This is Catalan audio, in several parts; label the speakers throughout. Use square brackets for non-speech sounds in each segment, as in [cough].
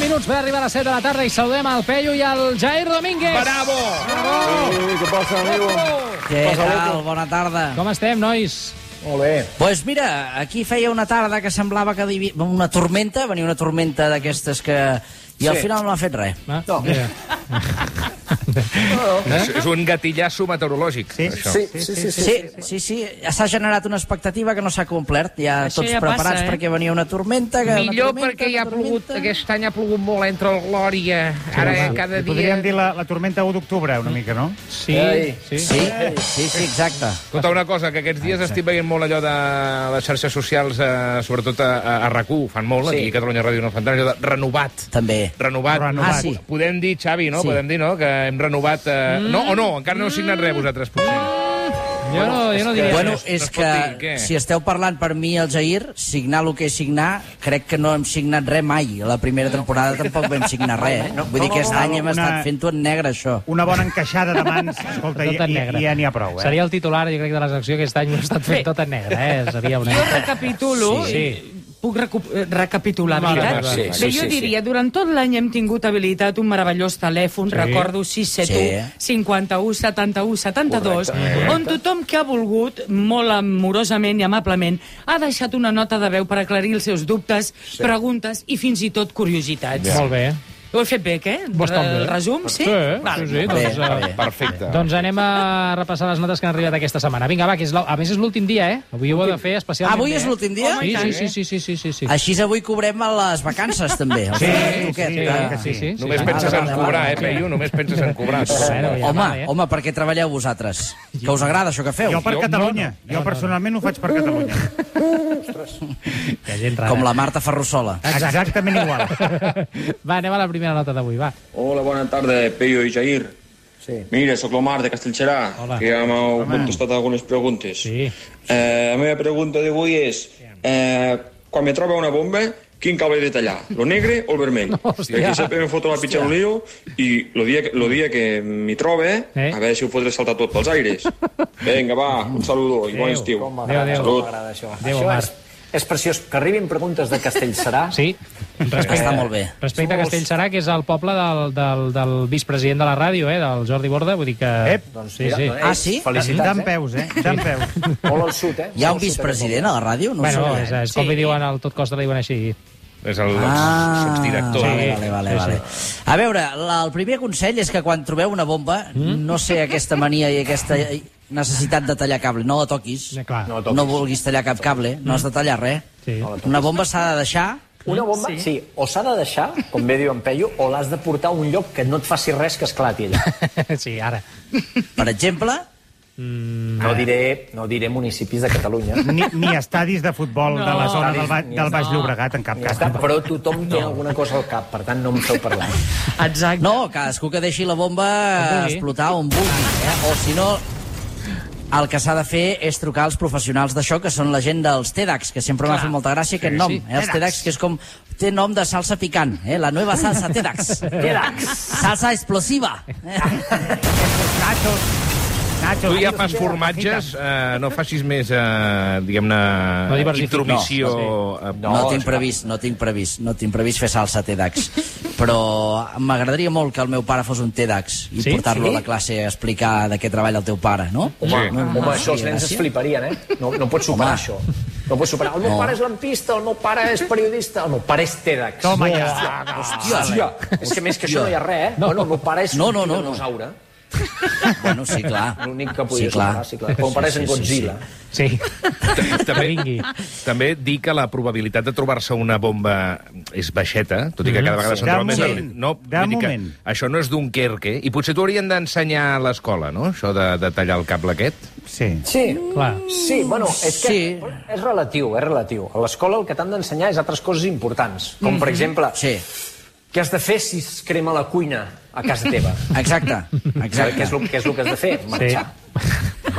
Speaker 1: minuts va arribar a les 7 de la tarda i saludem al Peyu i al Jair Domínguez.
Speaker 2: Bravo!
Speaker 3: Sí, què passa, amigo?
Speaker 4: Què
Speaker 3: Passa,
Speaker 4: tal?
Speaker 3: loco.
Speaker 4: Bona tarda.
Speaker 1: Com estem, nois?
Speaker 3: Molt bé.
Speaker 4: Doncs mira, aquí feia una tarda que semblava que divi... una tormenta, venia una tormenta d'aquestes que... I al
Speaker 3: Sí.
Speaker 4: final no ha fet res.
Speaker 1: Ah,
Speaker 3: No.
Speaker 1: mira.
Speaker 2: És, és un gatillasso meteorològic, sí, això.
Speaker 3: Sí, sí, sí. sí.
Speaker 4: Sí, sí, sí, s'ha generat una expectativa que no s'ha complert. Ja
Speaker 5: Això
Speaker 4: tots
Speaker 5: ja passa,
Speaker 4: preparats
Speaker 5: eh?
Speaker 4: perquè venia una tormenta... Que
Speaker 6: Millor
Speaker 4: una tormenta,
Speaker 6: perquè hi ha
Speaker 4: una
Speaker 6: plogut,
Speaker 4: tormenta.
Speaker 6: aquest any ha plogut molt entre el Glòria. Ara eh,
Speaker 7: Home,
Speaker 6: cada
Speaker 7: li
Speaker 6: dia...
Speaker 7: Podríem dir la, la tormenta 1 d'octubre, una mica, no?
Speaker 1: Sí,
Speaker 3: Ei.
Speaker 1: sí.
Speaker 4: Sí, sí, sí, exacte.
Speaker 2: Escolta, una cosa, que aquests dies estic veient molt allò de les xarxes socials, eh, sobretot a, a, a RAC1, fan molt, sí. aquí a Catalunya Ràdio no fan tant, allò de renovat.
Speaker 4: També.
Speaker 2: Renovat.
Speaker 7: Renovat.
Speaker 4: Ah, sí.
Speaker 2: Podem dir, Xavi, no?
Speaker 4: Sí.
Speaker 2: Podem dir, no? Que hem renovat... Eh... No, o no? Encara no heu signat res, vosaltres, potser.
Speaker 1: Jo no, jo no diré.
Speaker 4: Bueno,
Speaker 2: es-
Speaker 4: és
Speaker 2: es pot
Speaker 4: que
Speaker 2: dir, què?
Speaker 4: si esteu parlant per mi i el Jair, signar el que és signar, crec que no hem signat res mai. A La primera temporada tampoc vam signar res. Eh? Vull dir que aquest any hem
Speaker 7: Una-
Speaker 4: estat fent-ho en negre, això.
Speaker 7: Una bona encaixada de mans, escolta,
Speaker 1: Tot
Speaker 7: i,
Speaker 1: en
Speaker 7: i,
Speaker 1: negre.
Speaker 7: i ja n'hi ha prou, eh?
Speaker 1: Seria el titular, jo crec, de la secció aquest any. Ho he estat fent tot en negre, eh? Seria una...
Speaker 5: Jo recapitulo,
Speaker 1: Sí, sí.
Speaker 5: sí. puc recu- eh, recapitular,
Speaker 1: Molt bé,
Speaker 5: veritat?
Speaker 1: sí,
Speaker 5: Bé, jo diria, durant tot l'any hem tingut habilitat un meravellós telèfon,
Speaker 1: Sí.
Speaker 5: recordo 671 51 71 72, on tothom que ha volgut, molt amorosament i amablement, ha deixat una nota de veu per aclarir els seus dubtes, preguntes i fins i tot curiositats.
Speaker 1: Molt bé.
Speaker 5: Ho he fet bé, què?
Speaker 1: Bastant bé.
Speaker 6: Eh,
Speaker 5: El resum, sí?
Speaker 1: Sí,
Speaker 5: Val.
Speaker 1: sí, sí. Doncs,
Speaker 4: Bé,
Speaker 1: eh,
Speaker 4: bé.
Speaker 2: Perfecte.
Speaker 1: Doncs anem a repassar les notes que han arribat aquesta setmana. Vinga, va, que és la... a més és l'últim dia, eh? Avui ho heu de fer especialment
Speaker 4: Avui
Speaker 1: bé,
Speaker 4: és
Speaker 1: eh?
Speaker 4: l'últim dia?
Speaker 1: Sí, sí, sí, sí, sí, sí, sí, sí.
Speaker 4: Així avui cobrem a les
Speaker 1: [laughs]
Speaker 4: vacances, també.
Speaker 7: Sí, sí,
Speaker 4: truquet,
Speaker 7: sí,
Speaker 4: eh?
Speaker 7: tant que sí.
Speaker 1: sí, sí.
Speaker 2: Només
Speaker 4: sí.
Speaker 2: penses en
Speaker 4: Vale, vale,
Speaker 2: cobrar, eh,
Speaker 4: vale.
Speaker 2: Peyu? Només penses en cobrar.
Speaker 1: Bueno, ja
Speaker 4: Home,
Speaker 1: va, eh?
Speaker 4: home, perquè treballeu vosaltres, que us agrada això que feu.
Speaker 7: Jo per
Speaker 2: Jo-
Speaker 7: Catalunya.
Speaker 1: no, no. No,
Speaker 7: Jo
Speaker 1: no,
Speaker 7: personalment ho faig per Catalunya.
Speaker 1: Que gent rara.
Speaker 4: Com la Marta Ferrusola.
Speaker 7: Exactament igual.
Speaker 1: [laughs] Va, anem a la primera nota d'avui, va.
Speaker 8: Hola, bona tarda, Peyo i Jair.
Speaker 3: Sí.
Speaker 8: Mira, sóc l'Omar de Castellxerà,
Speaker 1: Hola.
Speaker 8: que ja m'heu contestat algunes preguntes.
Speaker 1: Sí.
Speaker 8: Eh, la meva pregunta d'avui és, eh, quan me troba una bomba, quin cable he de tallar? Lo negre o el vermell?
Speaker 1: [laughs] hòstia.
Speaker 8: Perquè sempre me foto la pitja en un lío i lo dia, que- lo dia que m'hi trobe,
Speaker 1: Eh?
Speaker 8: a veure si ho fotré saltar tot pels
Speaker 1: [laughs]
Speaker 8: aires. Vinga, va, un saludo i bon
Speaker 1: Adéu.
Speaker 8: estiu.
Speaker 3: Com
Speaker 1: Adéu,
Speaker 3: m'agrada,
Speaker 1: adéu.
Speaker 3: com m'agrada això.
Speaker 1: Adéu,
Speaker 3: això
Speaker 1: Omar.
Speaker 3: és, és preciós. Que arribin preguntes de Castellserà.
Speaker 1: [laughs] Sí. Respecte,
Speaker 4: Està molt bé.
Speaker 1: Respecte a Castellserà, que és el poble del, del, del vicepresident de la ràdio, eh, del Jordi Borda, vull dir que...
Speaker 7: Ep,
Speaker 3: Doncs
Speaker 1: sí,
Speaker 3: mira,
Speaker 1: sí.
Speaker 3: doncs,
Speaker 4: Ah, sí?
Speaker 7: D'en
Speaker 3: Felicitats, eh?
Speaker 7: peus, eh? D'en peus.
Speaker 3: Molt al sud, eh?
Speaker 4: Hi ha un
Speaker 3: Molt al sud,
Speaker 4: vicepresident a la ràdio? No ho
Speaker 1: Bueno,
Speaker 4: sabia.
Speaker 1: és,
Speaker 7: eh.
Speaker 1: és com li diuen al tot costa, li diuen així. [laughs]
Speaker 2: És el
Speaker 4: Ah,
Speaker 2: subdirector.
Speaker 4: vale, vale,
Speaker 1: Sí,
Speaker 4: vale,
Speaker 1: sí.
Speaker 4: vale. A veure, la, el primer consell és que quan trobeu una bomba,
Speaker 1: Mm?
Speaker 4: no sé aquesta mania i aquesta necessitat de tallar cable, no la toquis.
Speaker 1: Ja, clar.
Speaker 3: No
Speaker 4: No,
Speaker 3: toquis.
Speaker 4: vulguis tallar cap cable, no has de tallar res.
Speaker 1: Sí. No la
Speaker 4: Una bomba s'ha de deixar...
Speaker 3: Una bomba, sí, sí o s'ha de deixar, com bé diu en Peyu, o l'has de portar a un lloc que no et faci res que esclati allà.
Speaker 1: sí, ara.
Speaker 4: Per exemple,
Speaker 7: Mm.
Speaker 3: No diré, no diré municipis de
Speaker 7: [laughs]
Speaker 3: Catalunya.
Speaker 7: Ni, ni estadis de futbol de la
Speaker 5: No.
Speaker 7: zona del, ba
Speaker 3: Estadis, ni
Speaker 7: del Baix
Speaker 5: no.
Speaker 7: Llobregat, en cap
Speaker 3: Ja
Speaker 7: cas.
Speaker 3: està, però tothom té alguna cosa al cap, per tant no em feu parlar.
Speaker 7: Ah,
Speaker 5: Exacte.
Speaker 4: no, cadascú que deixi la bomba
Speaker 1: vulgui.
Speaker 4: explotar on vulgui. Eh? O si no, el que s'ha de fer és trucar als professionals d'això, que són la gent dels TEDx, que sempre m'ha fet molta gràcia aquest nom. Eh? Els TEDx, que és com... Té nom de salsa picant, eh? La nueva salsa
Speaker 1: [laughs]
Speaker 4: TEDx. TEDx. Salsa explosiva. Eh?
Speaker 7: Nachos. Nachos.
Speaker 2: Tu ja fas formatges, eh, no facis més, eh, diguem-ne,
Speaker 1: No diversifiquis.
Speaker 2: intromissió...
Speaker 1: No,
Speaker 2: eh,
Speaker 4: No, no tinc previst, no tinc previst, no tinc previst fer salsa TEDx. Però m'agradaria molt que el meu pare fos un TEDx i
Speaker 1: Sí?
Speaker 4: portar-lo
Speaker 1: Sí?
Speaker 4: a la classe a explicar de què treballa el teu pare, no?
Speaker 3: Home,
Speaker 2: Sí.
Speaker 3: no, home això els
Speaker 4: faria
Speaker 3: nens es
Speaker 4: gràcia.
Speaker 3: fliparien, eh? No, no pots superar
Speaker 4: Home.
Speaker 3: això. No pots superar. El meu
Speaker 4: No.
Speaker 3: pare és lampista, el meu pare és periodista, el meu pare és TEDx.
Speaker 7: Toma ja.
Speaker 3: Hòstia, hòstia. És que més que això no hi ha res, eh? No, no, el meu pare és
Speaker 4: No, no,
Speaker 3: un
Speaker 4: no, no.
Speaker 3: dinosaure.
Speaker 4: Bueno, sí, clar.
Speaker 3: L'únic que podia superar, sí, clar. El meu pare és en Godzilla.
Speaker 1: Sí.
Speaker 2: també,
Speaker 1: vingui.
Speaker 2: també dir que la probabilitat de trobar-se una bomba és baixeta, tot i que cada vegada
Speaker 7: Sí.
Speaker 2: se'n troba
Speaker 7: Mm-hmm. De
Speaker 2: més...
Speaker 7: moment.
Speaker 2: de- No,
Speaker 7: De
Speaker 2: vull dir que
Speaker 7: moment.
Speaker 2: Això no és d'un Kerke, i potser t'ho haurien d'ensenyar a l'escola, no?, això de, de tallar el cable aquest.
Speaker 7: Sí.
Speaker 3: Sí,
Speaker 1: Clar.
Speaker 3: sí, bueno, és que
Speaker 4: Sí.
Speaker 3: és relatiu, és relatiu. A l'escola el que t'han d'ensenyar és altres coses importants, com per exemple,
Speaker 4: Sí,
Speaker 3: què has de fer si es crema la cuina a casa teva? [laughs]
Speaker 4: exacte,
Speaker 3: Què
Speaker 4: exacte.
Speaker 3: és el, què és el que has de fer? Marxar.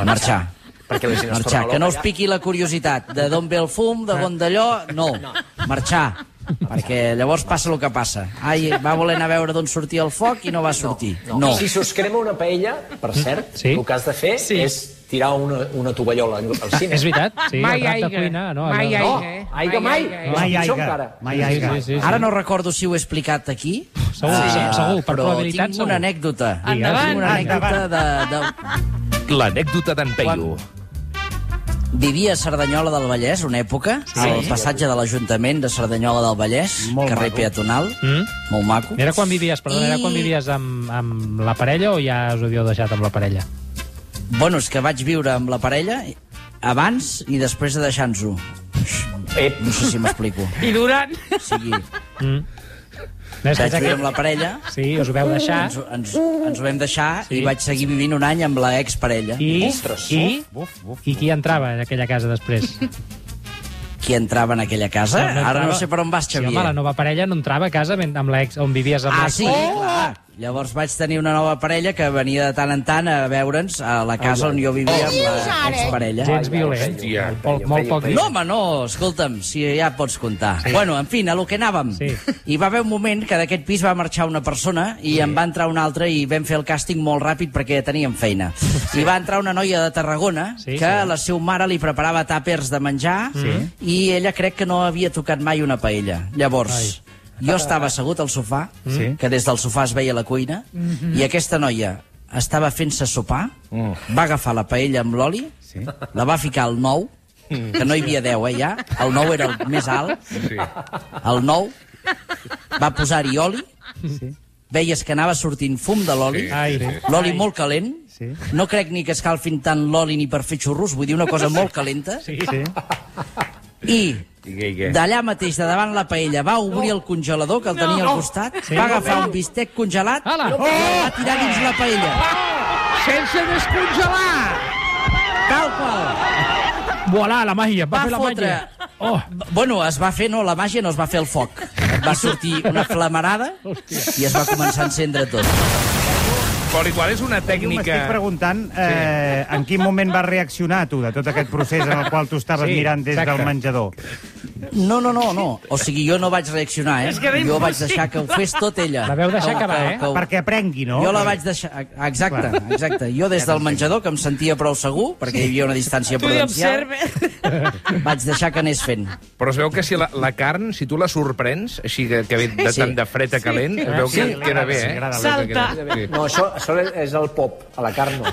Speaker 4: Marxar.
Speaker 3: Perquè la gent es
Speaker 4: Marxar,
Speaker 3: torna
Speaker 4: que no us
Speaker 3: loca, ja.
Speaker 4: piqui la curiositat de d'on ve el fum, de on d'allò, no. Marxar, perquè llavors passa el que passa. Ai, va voler anar a veure d'on sortia el foc i no va sortir. No.
Speaker 3: Si s'us crema una paella, per cert,
Speaker 1: Sí.
Speaker 3: el que has de fer
Speaker 5: Sí.
Speaker 3: és tirar una, una tovallola al cine.
Speaker 1: És veritat? Sí,
Speaker 6: Mai
Speaker 1: el drap de
Speaker 6: aigua.
Speaker 1: cuina, no?
Speaker 6: Mai
Speaker 1: allò-
Speaker 6: aigua.
Speaker 3: No,
Speaker 6: eh?
Speaker 3: aigua mai.
Speaker 6: Mai
Speaker 3: és
Speaker 7: Mai
Speaker 3: pitjor
Speaker 7: aigua.
Speaker 3: encara.
Speaker 7: Mai
Speaker 1: Sí,
Speaker 7: aigua.
Speaker 1: sí, sí, sí.
Speaker 4: Ara no recordo si ho he explicat aquí.
Speaker 1: Segur,
Speaker 4: eh,
Speaker 1: segur, per
Speaker 4: però
Speaker 1: probabilitat,
Speaker 4: tinc
Speaker 1: segur.
Speaker 4: una anècdota.
Speaker 5: Endavant.
Speaker 4: Tinc una anècdota de, de,
Speaker 2: L'anècdota d'en Peyu.
Speaker 4: Vivia a Cerdanyola del Vallès una època, al passatge de l'Ajuntament de Cerdanyola del Vallès,
Speaker 7: Molt
Speaker 4: carrer
Speaker 7: maco.
Speaker 4: peatonal,
Speaker 1: Mm?
Speaker 4: molt maco.
Speaker 1: Era quan vivies, perdona, era
Speaker 4: I-
Speaker 1: quan vivies amb, amb la parella o ja us ho havíeu deixat amb la parella?
Speaker 4: Bueno, és que vaig viure amb la parella abans i després de deixar-nos-ho.
Speaker 3: Ep.
Speaker 4: No sé si m'explico.
Speaker 5: I durant... [laughs]
Speaker 1: [laughs]
Speaker 4: O sigui,
Speaker 1: No, és que
Speaker 4: vaig
Speaker 1: és
Speaker 4: viure
Speaker 1: aquest...
Speaker 4: amb la parella,
Speaker 1: Sí, us ho veu deixar.
Speaker 4: ens, ens, ens ho vam deixar sí. i vaig seguir vivint un any amb la exparella.
Speaker 1: I,
Speaker 3: Ostres,
Speaker 1: i, i qui entrava en aquella casa
Speaker 4: [laughs]
Speaker 1: després?
Speaker 4: Qui entrava en aquella casa?
Speaker 1: No, no
Speaker 4: Ah, Ara no
Speaker 1: entrava.
Speaker 4: sé per on vas,
Speaker 1: Sí, home,
Speaker 4: Xavier.
Speaker 1: la nova parella no entrava a casa ben- amb l'ex, on vivies amb
Speaker 4: Ah,
Speaker 1: l'ex.
Speaker 4: sí, clar. Llavors vaig tenir una nova parella que venia de tant en tant a veure'ns a la casa on jo vivia amb la exparella.
Speaker 1: Gens violent.
Speaker 2: Hòstia.
Speaker 1: Molt, molt poc
Speaker 4: No, home, no, escolta'm, si ja pots comptar. Sí. Bueno, en fi, a lo que anàvem.
Speaker 1: Sí.
Speaker 4: Hi va haver un moment que d'aquest pis va marxar una persona i sí. en va entrar una altra i vam fer el càsting molt ràpid perquè teníem feina. Sí. I va entrar una noia de Tarragona
Speaker 1: Sí,
Speaker 4: sí, que
Speaker 1: sí.
Speaker 4: sí. la seva mare li preparava tàpers de menjar sí. i ella crec que no havia tocat mai una paella. Llavors... Ai. Jo estava assegut al sofà, sí. que des del sofà es veia la cuina, mm -hmm. i aquesta noia estava fent-se sopar, mm. va agafar la paella amb l'oli, sí. la va ficar al nou, que no hi havia 10, eh, ja. El 9 era el més alt.
Speaker 2: Sí.
Speaker 4: El 9 va posar-hi oli. Veies que anava sortint fum de l'oli.
Speaker 2: Sí,
Speaker 1: Ai,
Speaker 2: sí, sí.
Speaker 4: L'oli molt calent.
Speaker 7: Sí.
Speaker 4: No crec ni que escalfin tant l'oli ni per fer xurros, vull dir una cosa molt calenta.
Speaker 7: Sí, sí.
Speaker 4: I
Speaker 2: I què, i què?
Speaker 4: d'allà mateix, de davant la paella, va obrir el congelador que el tenia al costat,
Speaker 1: Sí.
Speaker 4: va agafar un bistec congelat i
Speaker 1: Ala!
Speaker 4: el va tirar dins la paella.
Speaker 6: Sense descongelar!
Speaker 4: Tal qual.
Speaker 1: Voilà, la màgia, va,
Speaker 4: Va
Speaker 1: fer la
Speaker 4: fotre...
Speaker 1: màgia. Oh,
Speaker 4: B- Bueno, es va fer, no, la màgia no es va fer el foc. Va sortir una flamarada i es va començar a encendre tot.
Speaker 2: Però igual és una
Speaker 7: Jo
Speaker 2: tècnica...
Speaker 7: m'estic preguntant eh, en quin moment vas reaccionar tu de tot aquest procés en el qual tu estaves
Speaker 1: Sí,
Speaker 7: sí, mirant des
Speaker 1: exacte.
Speaker 7: del menjador.
Speaker 4: No, no, no, no. O sigui, jo no vaig reaccionar, eh?
Speaker 5: És que era
Speaker 4: jo vaig
Speaker 5: impossible.
Speaker 4: deixar que ho fes tot ella.
Speaker 1: La veu deixar
Speaker 4: Que ho-
Speaker 1: acabar,
Speaker 4: que-
Speaker 1: eh?
Speaker 4: que ho-
Speaker 7: Perquè aprengui, no?
Speaker 4: Jo la vaig deixar... Exacte, exacte. Jo des del menjador, que em sentia prou segur, perquè hi havia una distància
Speaker 5: Tu hi
Speaker 4: prudencial,
Speaker 5: observe.
Speaker 4: vaig deixar que anés fent.
Speaker 2: Però es veu que si la, la carn, si tu la sorprens, així que, que ve de
Speaker 4: Sí.
Speaker 2: tant de fred a calent, es veu que
Speaker 7: Sí.
Speaker 2: queda bé,
Speaker 7: Sí,
Speaker 2: eh?
Speaker 7: agrada,
Speaker 5: Salta.
Speaker 2: Queda bé. Sí.
Speaker 3: No, això, això és el pop, a la carn no.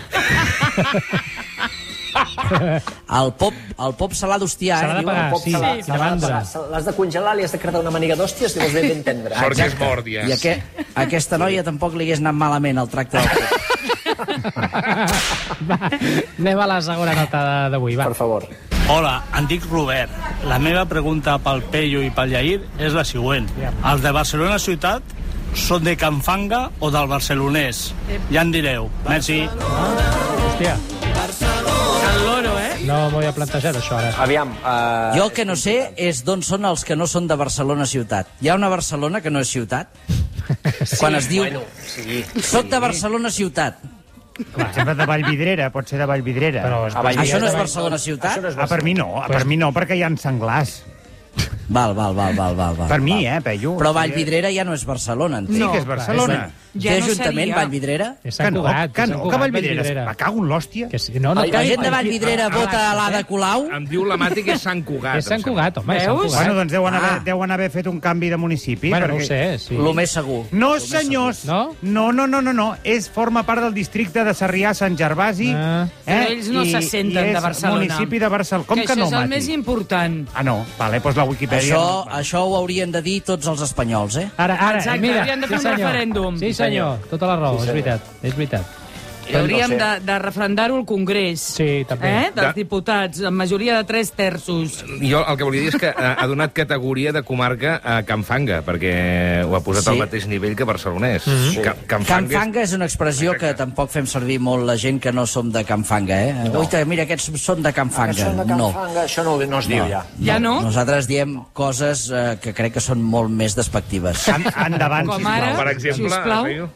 Speaker 4: El pop, el pop salar d'hòstia,
Speaker 1: S'ha
Speaker 4: eh?
Speaker 1: de
Speaker 4: diuen.
Speaker 1: pagar,
Speaker 3: Pop
Speaker 1: sí,
Speaker 3: salat,
Speaker 1: i de
Speaker 3: salat,
Speaker 1: mandra.
Speaker 4: [laughs]
Speaker 3: salat, salat. L'has de congelar, li has de crear una maniga d'hòsties i llavors ve ben tendre.
Speaker 2: Sort que és mort, ja.
Speaker 4: I aqu aquesta noia tampoc li hagués anat malament el tracte del pop.
Speaker 1: Va, anem a la segona nota d'avui, va.
Speaker 3: Per favor.
Speaker 9: Hola, em dic Robert. La meva pregunta pel Peyu i pel Iair és la següent. Els de Barcelona ciutat són de Can Fanga o del barcelonès? Ja en direu. Merci.
Speaker 1: Hòstia,
Speaker 5: El loro, eh?
Speaker 1: no m'ho havia plantejat, això, ara.
Speaker 3: Aviam, uh,
Speaker 4: Jo el que no sé és d'on són els que no són de Barcelona ciutat. Hi ha una Barcelona que no és ciutat? Sí, Quan es diu... Bueno, sí, Soc de Barcelona ciutat.
Speaker 7: Sempre de Vallvidrera, pot ser de Vallvidrera.
Speaker 1: Però
Speaker 3: a Vallvidrera-
Speaker 4: Això no és Barcelona ciutat?
Speaker 7: Ah, per mi no, ah, per mi no, perquè hi ha senglars.
Speaker 4: Val, val, val, val, val. val
Speaker 7: Per mi, eh, Peyu.
Speaker 4: Però Vallvidrera ja no és Barcelona, entenc.
Speaker 7: Sí que és Barcelona.
Speaker 5: Ja
Speaker 4: Té
Speaker 5: no
Speaker 4: ajuntament,
Speaker 5: seria.
Speaker 4: Vallvidrera?
Speaker 1: és
Speaker 7: Que
Speaker 1: Sant
Speaker 7: no,
Speaker 1: Cugat.
Speaker 7: que
Speaker 1: és
Speaker 7: no,
Speaker 1: Sant
Speaker 7: que
Speaker 1: Cugat,
Speaker 7: Vallvidrera. Me cago en l'hòstia.
Speaker 1: Que sí, no, no,
Speaker 4: La
Speaker 1: que-
Speaker 4: gent de Vallvidrera vota a l'Ada Colau?
Speaker 2: Em diu la Mati que és Sant Cugat.
Speaker 1: És Sant
Speaker 2: em sembla.
Speaker 1: Cugat, home, és Sant
Speaker 5: Veus?
Speaker 1: Cugat.
Speaker 7: Bueno, doncs deuen haver,
Speaker 4: Ah.
Speaker 7: deuen haver fet un canvi de municipi.
Speaker 1: Bueno, no
Speaker 7: perquè...
Speaker 1: ho sé, eh, sí.
Speaker 4: Lo més segur.
Speaker 7: No, senyors.
Speaker 1: No?
Speaker 7: No, no, no, no, no. És, forma part del districte de Sarrià-Sant Gervasi. Eh?
Speaker 1: Ah.
Speaker 5: Però ells no se senten de Barcelona.
Speaker 7: I és municipi de Barcelona. Com que,
Speaker 5: això
Speaker 7: no,
Speaker 5: és el
Speaker 7: Mati?
Speaker 5: més important.
Speaker 7: Ah, no. Vale, doncs la Wikipedia...
Speaker 4: Això, això ho haurien de dir tots els espanyols, eh?
Speaker 1: Ara, ara,
Speaker 5: Exacte,
Speaker 1: mira,
Speaker 5: havien de fer
Speaker 1: sí,
Speaker 5: un
Speaker 1: senyor.
Speaker 5: referèndum.
Speaker 1: Sí, senyor, tota la raó, és veritat, és veritat.
Speaker 5: Hauríem de, de refrendar-ho al Congrés.
Speaker 1: Sí, també.
Speaker 5: Eh? Dels
Speaker 2: De-
Speaker 5: diputats, amb majoria de tres terços.
Speaker 2: Jo el que volia dir és que eh, ha donat categoria de comarca a Can Fanga, perquè ho ha posat
Speaker 4: Sí. Mm-hmm.
Speaker 2: al mateix nivell que barcelonès. Mm -hmm. Ca Can
Speaker 4: Can
Speaker 2: Fanga és...
Speaker 4: Fanga és una expressió que tampoc fem servir molt la gent que no som de Can Fanga, eh? No. Oita, mira, aquests són de Can Fanga.
Speaker 3: això, no.
Speaker 4: No.
Speaker 3: Fanga, això no, no es diu ja.
Speaker 5: Ja no?
Speaker 4: Nosaltres diem coses eh, que crec que són molt més despectives.
Speaker 7: En, endavant,
Speaker 5: Com
Speaker 7: sisplau.
Speaker 5: ara?
Speaker 2: Per exemple,
Speaker 5: Sisplau.
Speaker 2: Riu,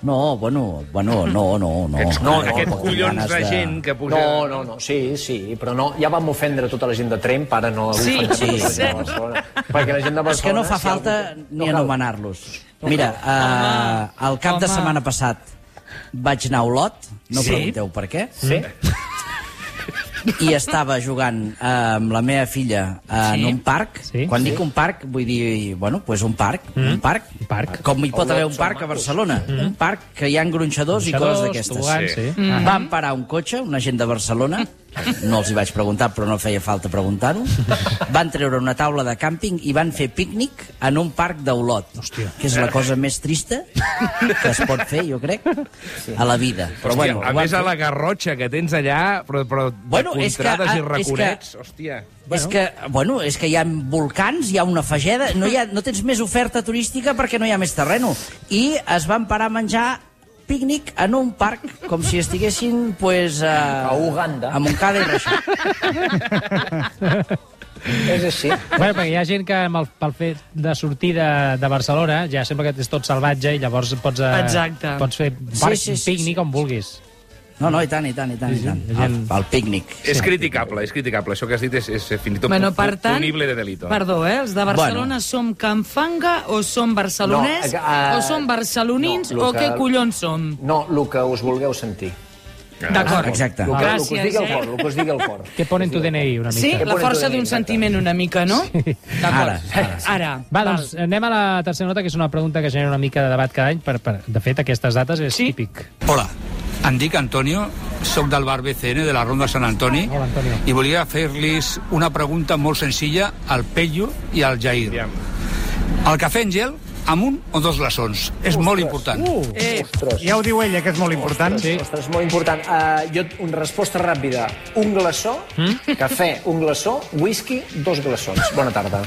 Speaker 4: No, bueno, bueno, no, no, no.
Speaker 2: aquests, no,
Speaker 4: no,
Speaker 2: no, aquests
Speaker 4: no,
Speaker 2: collons
Speaker 4: ganes
Speaker 2: de gent que puja...
Speaker 3: No, no, no, sí, sí, però no, ja vam ofendre tota la gent de Tremp, ara no
Speaker 5: Sí,
Speaker 3: ofendrem
Speaker 5: sí,
Speaker 3: tota la gent de Barcelona. Perquè la gent de Barcelona...
Speaker 4: És que no fa
Speaker 3: si
Speaker 4: falta
Speaker 3: algú-
Speaker 4: ni
Speaker 3: cal.
Speaker 4: anomenar-los. Mira, eh, el cap de
Speaker 5: home.
Speaker 4: setmana passat vaig anar a Olot, no
Speaker 5: Sí?
Speaker 4: pregunteu per què,
Speaker 3: Sí?
Speaker 4: i estava jugant eh, amb la meva filla eh, sí? en un parc.
Speaker 1: Sí,
Speaker 4: Sí? Quan
Speaker 1: sí.
Speaker 4: sí. dic un parc, vull dir, bueno, pues un parc, mm. un parc.
Speaker 1: Un parc.
Speaker 4: Com hi pot haver un parc a Barcelona. Mm. Un parc que hi ha gronxadors i
Speaker 1: Xadors,
Speaker 4: coses d'aquestes.
Speaker 1: tobogans, Sí. sí.
Speaker 4: Mm. Van parar un cotxe, una gent de Barcelona, no els hi vaig preguntar, però no feia falta preguntar-ho, van treure una taula de càmping i van fer pícnic en un parc d'Olot, que és la cosa més trista que es pot fer, jo crec, a la vida. Però
Speaker 2: Hòstia,
Speaker 4: bueno,
Speaker 2: a
Speaker 4: ho van
Speaker 2: més, a la garrotxa que tens allà, però, però
Speaker 4: Bueno,
Speaker 2: de
Speaker 4: és que,
Speaker 2: contrades
Speaker 4: ah,
Speaker 2: i
Speaker 4: és
Speaker 2: raconets, hòstia.
Speaker 4: Bueno. És que, bueno, és que hi ha volcans, hi ha una fageda, no, hi ha, no tens més oferta turística perquè no hi ha més terreno. I es van parar a menjar pícnic en un parc, com si estiguessin, pues, a,
Speaker 3: A Uganda.
Speaker 4: A Montcada i Reixac.
Speaker 3: És així.
Speaker 1: Bueno, perquè hi ha gent que amb el, pel fet de sortir de, de Barcelona ja sembla que és tot salvatge i llavors pots, eh,
Speaker 5: Exacte.
Speaker 1: pots fer parc, sí, sí, sí, pícnic sí, sí. on vulguis.
Speaker 4: No, no, i tant, i tant, i tant. I tant. El, el pícnic.
Speaker 2: És criticable, és criticable. Això que has dit és, és fins i tot
Speaker 5: Bueno, per tant, arbitrat.
Speaker 2: punible de delito.
Speaker 5: Perdó, eh? Els de Barcelona
Speaker 4: Bueno.
Speaker 5: bueno. som canfanga o som barcelonès
Speaker 3: No,
Speaker 5: no,
Speaker 3: eh,
Speaker 5: o som barcelonins
Speaker 3: no,
Speaker 5: no,
Speaker 3: lo
Speaker 5: o
Speaker 3: que-
Speaker 5: què collons som?
Speaker 3: No, el que us vulgueu sentir.
Speaker 2: Ah.
Speaker 5: D'acord.
Speaker 4: Exacte.
Speaker 3: El que, el que us
Speaker 5: Gràcies,
Speaker 3: digui el
Speaker 5: eh?
Speaker 3: cor, el que us digui el cor.
Speaker 1: Què ponen tu DNI una mica?
Speaker 5: Sí,
Speaker 3: Què
Speaker 5: la
Speaker 3: pones
Speaker 5: força
Speaker 3: tu
Speaker 5: d'un
Speaker 3: de
Speaker 5: sentiment una mica, no? Sí.
Speaker 4: Ara,
Speaker 5: D'acord. Ara. ara.
Speaker 1: Va, doncs anem a la tercera nota, que és una pregunta que genera una mica de debat cada any. Per, per, de fet, aquestes dates és
Speaker 5: Sí.
Speaker 1: típic.
Speaker 10: Hola, em dic Antonio, sóc del bar BCN de la Ronda Sant Antoni
Speaker 1: Hola, Antonio.
Speaker 10: i volia fer-los una pregunta molt senzilla al Pello i al Jair.
Speaker 2: Aviam.
Speaker 10: El cafè en gel, amb un o dos glaçons? És molt important.
Speaker 1: Uh.
Speaker 5: Eh,
Speaker 3: Ostres.
Speaker 7: Ja ho diu ella, que és molt important.
Speaker 1: Sí.
Speaker 3: Ostres, molt important. Uh, jo, una resposta ràpida. Un glaçó,
Speaker 1: Hmm?
Speaker 3: mm? cafè, un glaçó, whisky, dos glaçons. Bona tarda.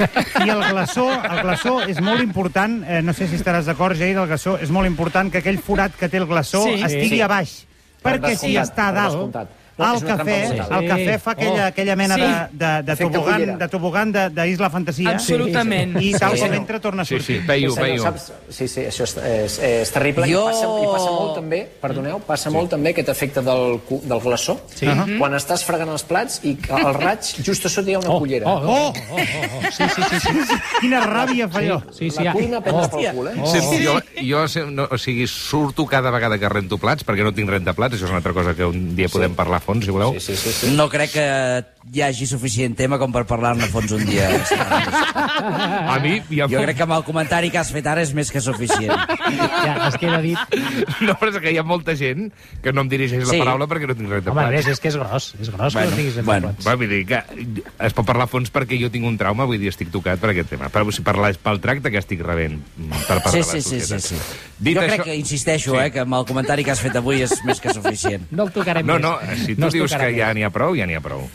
Speaker 7: I el glaçó, el glaçó és molt important, eh, no sé si estaràs d'acord, Jair, el glaçó, és molt important que aquell forat que té el glaçó
Speaker 5: Sí.
Speaker 7: sí, estigui
Speaker 3: Sí.
Speaker 7: sí. a baix.
Speaker 3: Per
Speaker 7: Perquè si
Speaker 3: descomptat,
Speaker 7: està a
Speaker 3: per
Speaker 7: dalt,
Speaker 3: descomptat. No,
Speaker 7: el
Speaker 3: és una
Speaker 7: cafè,
Speaker 3: trampa mortal.
Speaker 7: el cafè fa aquella,
Speaker 1: Oh.
Speaker 7: aquella mena
Speaker 5: Sí.
Speaker 7: de, de, de
Speaker 3: Efecte
Speaker 7: tobogan,
Speaker 3: cullera.
Speaker 7: de tobogan de- d'Isla Fantasia.
Speaker 5: Absolutament.
Speaker 7: I tal
Speaker 3: Sí.
Speaker 7: com entra, torna a
Speaker 2: Sí, sí,
Speaker 7: sortir.
Speaker 2: peio,
Speaker 3: Senyor,
Speaker 2: peio.
Speaker 3: saps, sí, sí, això és, és, és terrible.
Speaker 4: Jo-
Speaker 3: I, passa, I passa molt també, perdoneu, passa sí. molt també aquest efecte del, cu- del glaçó. Sí. Uh -huh. Quan estàs fregant els plats i al raig, just a sota hi ha una cullera.
Speaker 1: Oh, oh, oh, oh, oh. Sí, sí, sí. sí.
Speaker 7: Quina ràbia fa allò.
Speaker 1: sí, sí
Speaker 3: La
Speaker 1: ja.
Speaker 3: cuina pren pel cul, eh?
Speaker 2: Oh. Sempre, jo, jo sem- no, o sigui, surto cada vegada que rento plats, perquè no tinc rentaplats, això és una altra cosa que un dia podem parlar a fons, si voleu.
Speaker 3: Sí, sí, sí. sí.
Speaker 4: No crec que hi hagi suficient tema com per parlar-ne a fons un dia.
Speaker 2: A mi ja
Speaker 4: Jo
Speaker 2: m'ho-
Speaker 4: crec que amb el comentari que has fet ara és més que suficient.
Speaker 1: ja, es queda dit.
Speaker 2: [laughs] No, però és que hi ha molta gent que no em dirigeix la
Speaker 4: Sí.
Speaker 2: paraula perquè no tinc
Speaker 1: Home, a
Speaker 2: rentaplats.
Speaker 1: més, és que és gros, és gros bueno, que no tinguis en
Speaker 4: bueno.
Speaker 1: compte.
Speaker 2: Va, vull dir que es pot parlar a fons perquè jo tinc un trauma, vull dir, estic tocat per aquest tema. Però si parlar és pel tracte que estic rebent mm, per part
Speaker 4: Sí,
Speaker 2: de la
Speaker 4: sí, sí, sí,
Speaker 2: societat.
Speaker 4: sí.
Speaker 2: Dit
Speaker 4: Jo
Speaker 2: això...
Speaker 4: crec que, insisteixo, eh, que amb el comentari que has fet avui és més que suficient.
Speaker 1: No el tocarem
Speaker 2: No,
Speaker 1: més.
Speaker 2: no, si tu
Speaker 1: es
Speaker 2: no dius
Speaker 1: tocarà
Speaker 2: que ja n'hi ha prou, ja n'hi ha prou.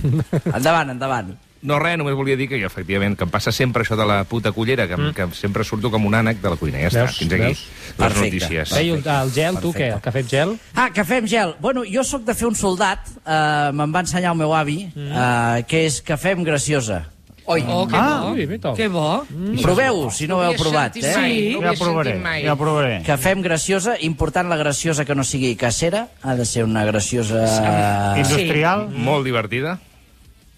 Speaker 4: Endavant, endavant.
Speaker 2: No, res, només volia dir que jo, efectivament, que em passa sempre això de la puta cullera, que, mm. que sempre surto com un ànec de la cuina. Ja està,
Speaker 1: Veus?
Speaker 2: fins aquí
Speaker 1: Veus?
Speaker 2: les
Speaker 4: Perfecte.
Speaker 2: notícies.
Speaker 1: Feia el, el gel, tu
Speaker 4: Perfecte.
Speaker 1: què? El cafè amb gel?
Speaker 4: Ah, cafè amb gel. Bueno, jo sóc de fer un soldat, eh, me'n va ensenyar el meu avi,
Speaker 2: Mm.
Speaker 4: eh, que és cafè amb graciosa.
Speaker 3: Oi,
Speaker 5: Oh, que
Speaker 1: Ah, ui,
Speaker 5: bo.
Speaker 1: mira.
Speaker 5: Que bo.
Speaker 4: Mm.
Speaker 2: Mm.
Speaker 4: Proveu-ho, si no ho heu provat. Eh?
Speaker 5: Sí.
Speaker 7: Ja ho provaré, ja ho provaré.
Speaker 4: Cafè amb graciosa, important la graciosa que no sigui casera, ha de ser una graciosa...
Speaker 7: Industrial.
Speaker 2: Molt divertida.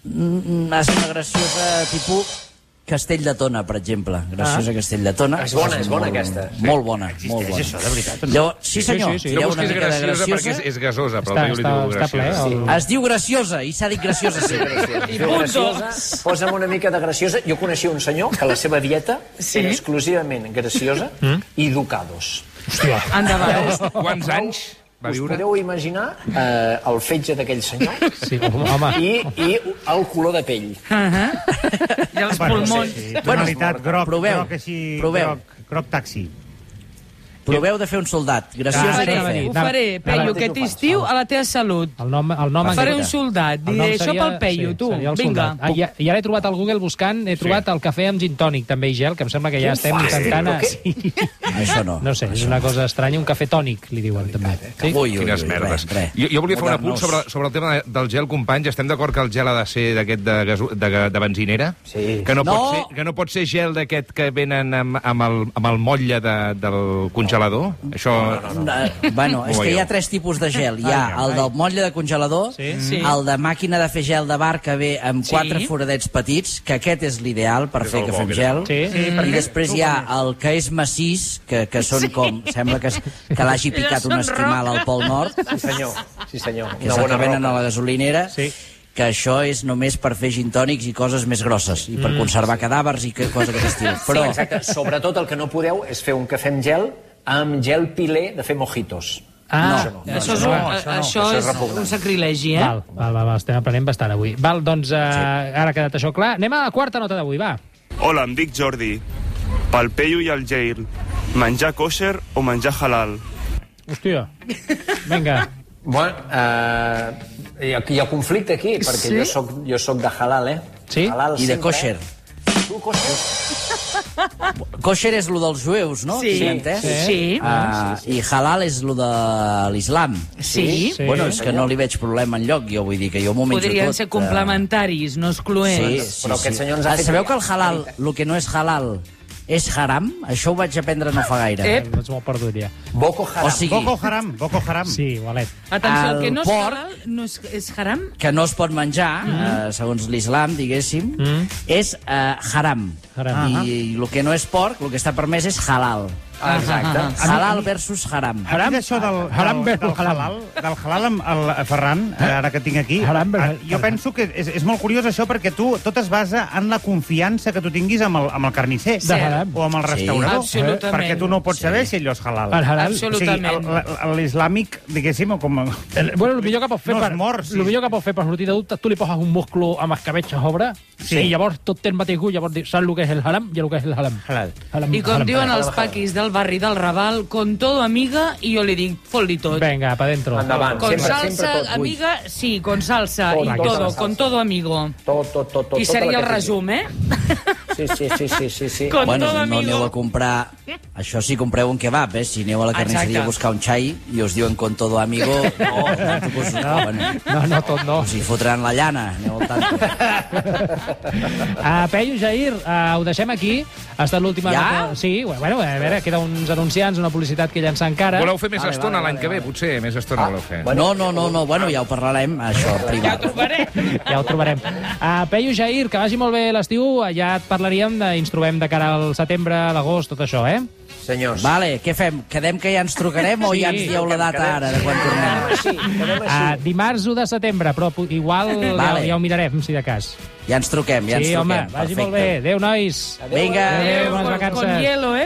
Speaker 4: Mm, Ha de ser una graciosa tipus Castell de Tona, per exemple. Graciosa Castell de Tona.
Speaker 3: És bona, és bona, aquesta.
Speaker 4: Molt bona, molt bona. Existeix això, de veritat? Llavors, sí, senyor,
Speaker 1: sí, sí.
Speaker 4: hi
Speaker 2: No
Speaker 4: ha una
Speaker 2: busquis
Speaker 4: mica de
Speaker 2: graciosa, graciosa perquè és,
Speaker 4: graciosa.
Speaker 2: és gasosa, però
Speaker 1: Està,
Speaker 2: jo li
Speaker 1: està,
Speaker 2: diu
Speaker 1: està ple.
Speaker 2: graciosa.
Speaker 1: El...
Speaker 4: Es diu graciosa, i s'ha dit graciosa sempre.
Speaker 3: I graciosa, posa'm una mica de graciosa. Jo coneixia un senyor que la seva dieta
Speaker 5: Sí.
Speaker 3: sí. era exclusivament graciosa mm? i ducados.
Speaker 5: Endavant.
Speaker 2: Quants anys va
Speaker 3: Us
Speaker 2: viure?
Speaker 3: podeu imaginar eh, el fetge d'aquell senyor
Speaker 1: Sí, home, home.
Speaker 3: i, i el color de pell.
Speaker 5: I els pulmons.
Speaker 7: Tonalitat groc,
Speaker 4: Proveu,
Speaker 7: groc així,
Speaker 4: proveu.
Speaker 7: groc, groc taxi.
Speaker 4: Proveu de fer un soldat.
Speaker 5: Ho
Speaker 1: Ah,
Speaker 4: Graciosa i
Speaker 5: faré,
Speaker 1: anava a
Speaker 4: cafè.
Speaker 1: dir.
Speaker 5: ho faré. Pello, aquest estiu a la teva salut.
Speaker 1: El nom, el nom
Speaker 5: Faré
Speaker 1: en
Speaker 5: un
Speaker 1: grec.
Speaker 5: soldat.
Speaker 1: El nom
Speaker 5: Diré, això
Speaker 1: seria-
Speaker 5: pel Peyu, tu.
Speaker 1: seria el
Speaker 5: Vinga.
Speaker 1: soldat. Ah, ja, ja l'he trobat al Google buscant, he trobat el cafè amb gin tònic, també, i gel, que em sembla que ja estem intentant... A... Sí.
Speaker 4: Això no.
Speaker 1: No sé, és una cosa estranya, un cafè tònic, li diuen, també. Sí?
Speaker 4: Ui, ui,
Speaker 2: Quines
Speaker 4: ui,
Speaker 2: merdes.
Speaker 4: res, res.
Speaker 2: Jo, jo volia fer un apunt
Speaker 4: Modernos.
Speaker 2: sobre, sobre el tema de- del gel, companys. Estem d'acord que el gel ha de ser d'aquest de, gaso- de, ga- de benzinera?
Speaker 3: Sí.
Speaker 2: Que no,
Speaker 4: No!
Speaker 2: Pot ser, que no pot ser gel d'aquest que venen amb, amb, el, amb el motlle de, del congelador? Això... No,
Speaker 4: Eh, bueno, és que hi ha
Speaker 2: veieu.
Speaker 4: tres tipus de gel. Hi ha el del motlle de congelador,
Speaker 1: Sí.
Speaker 5: Sí.
Speaker 4: el de màquina de fer gel de bar que ve amb
Speaker 5: Sí.
Speaker 4: quatre foradets petits, que aquest és l'ideal per fer que fem gel.
Speaker 1: Sí. Sí,
Speaker 4: I després hi ha el que és massís, que, que són com... Sembla que, es- que l'hagi picat
Speaker 5: són
Speaker 4: un estimal al Pol Nord,
Speaker 3: Sí, senyor. Sí, senyor.
Speaker 4: que és el que venen a la
Speaker 3: roca.
Speaker 4: gasolinera.
Speaker 1: Sí.
Speaker 4: que això és només per fer gintònics i coses més grosses, i per
Speaker 3: Mm.
Speaker 4: conservar cadàvers i que- cosa d'aquest estil. Però...
Speaker 3: Sí, exacte. Sobretot el que no podeu és fer un cafè amb gel amb gel pilé de fer mojitos.
Speaker 1: Ah,
Speaker 3: no, no,
Speaker 5: Això, és,
Speaker 3: no,
Speaker 5: un,
Speaker 3: això no.
Speaker 5: això
Speaker 3: Això és
Speaker 5: és
Speaker 3: repugnant.
Speaker 5: un sacrilegi, eh?
Speaker 1: Val, val, val, val, estem aprenent bastant avui. Val, doncs eh, ara ha quedat això clar. Anem a la quarta nota d'avui, va.
Speaker 11: Hola, em dic Jordi. Pel Peyu i el Jair. Menjar kosher o menjar halal?
Speaker 1: Hòstia.
Speaker 5: [laughs]
Speaker 1: Vinga.
Speaker 3: Bueno, eh, hi, ha, hi ha conflicte aquí, perquè
Speaker 1: Sí?
Speaker 3: jo, soc, jo soc de halal, eh?
Speaker 4: Sí?
Speaker 3: Halal,
Speaker 4: I de
Speaker 3: sempre,
Speaker 4: kosher.
Speaker 3: eh? Tu, kosher?
Speaker 4: Kosher és lo dels jueus, no?
Speaker 3: Sí.
Speaker 4: Tinc entès?
Speaker 3: Sí. Sí.
Speaker 4: Ah, I halal és lo de l'islam.
Speaker 5: Sí. Sí.
Speaker 4: Bueno, és que no li veig problema en lloc, jo vull dir que jo m'ho menjo
Speaker 5: Podrien
Speaker 4: tot.
Speaker 5: ser
Speaker 4: eh.
Speaker 5: complementaris, no
Speaker 4: Sí,
Speaker 5: excloents.
Speaker 4: sí, sí. Ah, Sabeu que el halal, el que no és halal, és haram? Això ho vaig aprendre no fa gaire.
Speaker 5: Ep.
Speaker 1: No ets molt perdut, ja.
Speaker 3: Boko
Speaker 4: O sigui,
Speaker 7: Boko Haram, Boko Haram.
Speaker 1: Sí, valet.
Speaker 5: Atenció, el que
Speaker 4: El
Speaker 5: no és
Speaker 4: porc-
Speaker 5: halal no és, és haram?
Speaker 4: que no es pot menjar, eh, segons l'islam, diguéssim, és eh, haram.
Speaker 1: Haram.
Speaker 4: I, I el que no és porc, el que està permès és halal.
Speaker 3: Ah, exacte.
Speaker 4: Ah, Halal versus haram.
Speaker 7: Haram, això del, haram del, del halal, del halal amb el Ferran, eh, ara que tinc aquí, haram jo penso que és, és molt curiós això perquè tu tot es basa en la confiança que tu tinguis amb el, amb el carnisser
Speaker 1: De haram.
Speaker 7: o amb el
Speaker 1: Sí.
Speaker 7: restaurador,
Speaker 1: Absolutament.
Speaker 7: perquè tu no pots saber si allò és halal.
Speaker 1: El halal.
Speaker 7: O sigui, el- el- l'islàmic, diguéssim, o com...
Speaker 1: El, bueno, el millor que pot fer
Speaker 7: No es
Speaker 1: per,
Speaker 7: mor, sí.
Speaker 1: el millor que pot fer per sortir de dubtes, tu li poses un musclo amb escabetx a sobre
Speaker 7: Sí.
Speaker 1: sí. i llavors tot té el mateix gust, llavors dius, saps el que és el haram i el que és el haram.
Speaker 7: Halal.
Speaker 1: haram
Speaker 5: I com
Speaker 1: Mm. haram.
Speaker 5: diuen els paquis del barri del Raval, con todo amiga, i jo li dic, fot-li tot.
Speaker 1: Vinga, pa dentro.
Speaker 3: Endavant.
Speaker 5: Con
Speaker 3: Sempre,
Speaker 5: salsa,
Speaker 3: sempre tot.
Speaker 5: amiga, sí, con salsa,
Speaker 3: Tot,
Speaker 5: i
Speaker 3: tota la
Speaker 5: todo,
Speaker 3: salsa.
Speaker 5: con todo amigo.
Speaker 3: Tot, tot, tot,
Speaker 5: I
Speaker 3: tot. tota la
Speaker 5: seria el
Speaker 3: que tingui.
Speaker 5: resum, eh?
Speaker 3: Sí, sí, sí, sí, sí. sí.
Speaker 5: Con
Speaker 4: bueno,
Speaker 5: todo
Speaker 4: no
Speaker 5: amigo.
Speaker 4: aneu a comprar... Això sí, compreu un kebab, eh? Si aneu a la carnisseria
Speaker 5: Exacte.
Speaker 4: a buscar un xai i us diuen con todo amigo, no, no, us ho troben.
Speaker 1: No, no, tot no.
Speaker 4: Us hi fotran la llana, aneu al tanto.
Speaker 1: Uh, Peyu, Jair, uh, ho deixem aquí. Ha estat l'última...
Speaker 4: Ja?
Speaker 1: nota- Sí, bueno, a veure, queda uns anunciants, una publicitat que llançar encara.
Speaker 2: Voleu fer més estona l'any que ve, potser? Més estona
Speaker 4: Ah,
Speaker 2: voleu fer.
Speaker 4: No, no, no, no, bueno, ja ho parlarem, això, privat.
Speaker 1: Ja ho trobarem. Uh, Peyu, Jair, que vagi molt bé l'estiu. Eh, Ja et parlaríem, de, ens trobem de cara al setembre, l'agost, tot això, eh?
Speaker 3: Senyors.
Speaker 4: Vale, què fem? Quedem que ja ens trucarem o
Speaker 1: Sí.
Speaker 4: ja ens dieu la data ara de quan tornem?
Speaker 1: Uh, dimarts 1 de setembre, però pu- igual vale.
Speaker 4: Vale.
Speaker 1: ja, ja ho mirarem, si de cas.
Speaker 4: Ja ens truquem, ja ens
Speaker 1: sí,
Speaker 4: truquem.
Speaker 1: home, vagi molt bé. Adéu, nois.
Speaker 4: Vinga.
Speaker 1: Adéu,
Speaker 5: Adéu,
Speaker 1: bones
Speaker 5: con,
Speaker 1: vacances.
Speaker 5: con hielo, eh?